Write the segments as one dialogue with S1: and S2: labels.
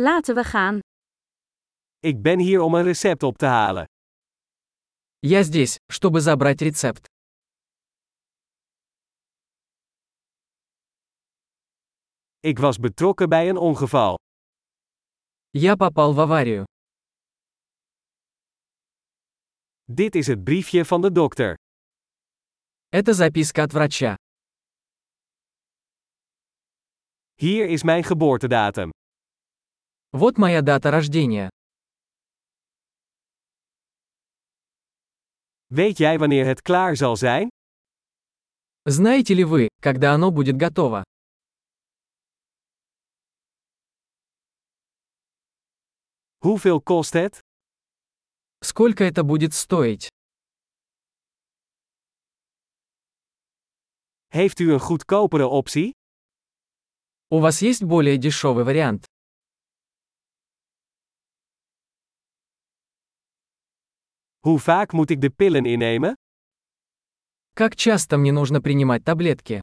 S1: Laten we gaan.
S2: Ik ben hier om een recept op te halen.
S3: Я здесь, чтобы забрать рецепт.
S2: Ik was betrokken bij een ongeval.
S3: Я попал в аварию.
S2: Dit is het briefje van de dokter.
S3: Это записка от врача.
S2: Hier is mijn geboortedatum.
S3: Вот моя дата рождения.
S2: Weet jij wanneer het klaar zal zijn?
S3: Знаете ли вы, когда оно будет готоvo?
S2: Hoeveel kost het?
S3: Сколько это будет стоить?
S2: Heeft u een goedkopere optie?
S3: У вас есть более дешевый вариант?
S2: Hoe vaak moet ik de pillen innemen?
S3: Как часто мне нужно принимать таблетки?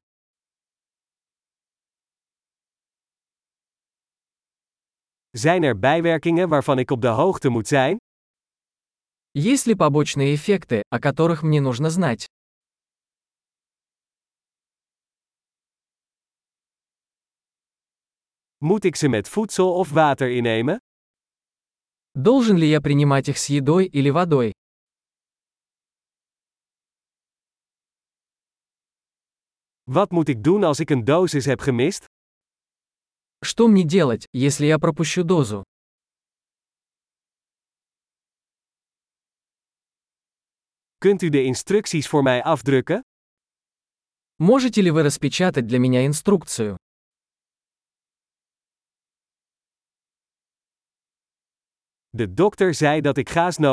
S2: Zijn er bijwerkingen waarvan ik op de hoogte moet zijn?
S3: Есть ли побочные эффекты, о которых мне нужно знать?
S2: Moet ik ze met voedsel of water innemen?
S3: Должен ли я принимать их с едой или водой?
S2: Wat moet ik doen als ik een dosis heb gemist?
S3: Что мне делать, если я пропущу дозу?
S2: Kunt u de instructies voor mij afdrukken?
S3: Можете ли вы распечатать для меня инструкцию?
S2: De dokter zei dat ik gaas nodig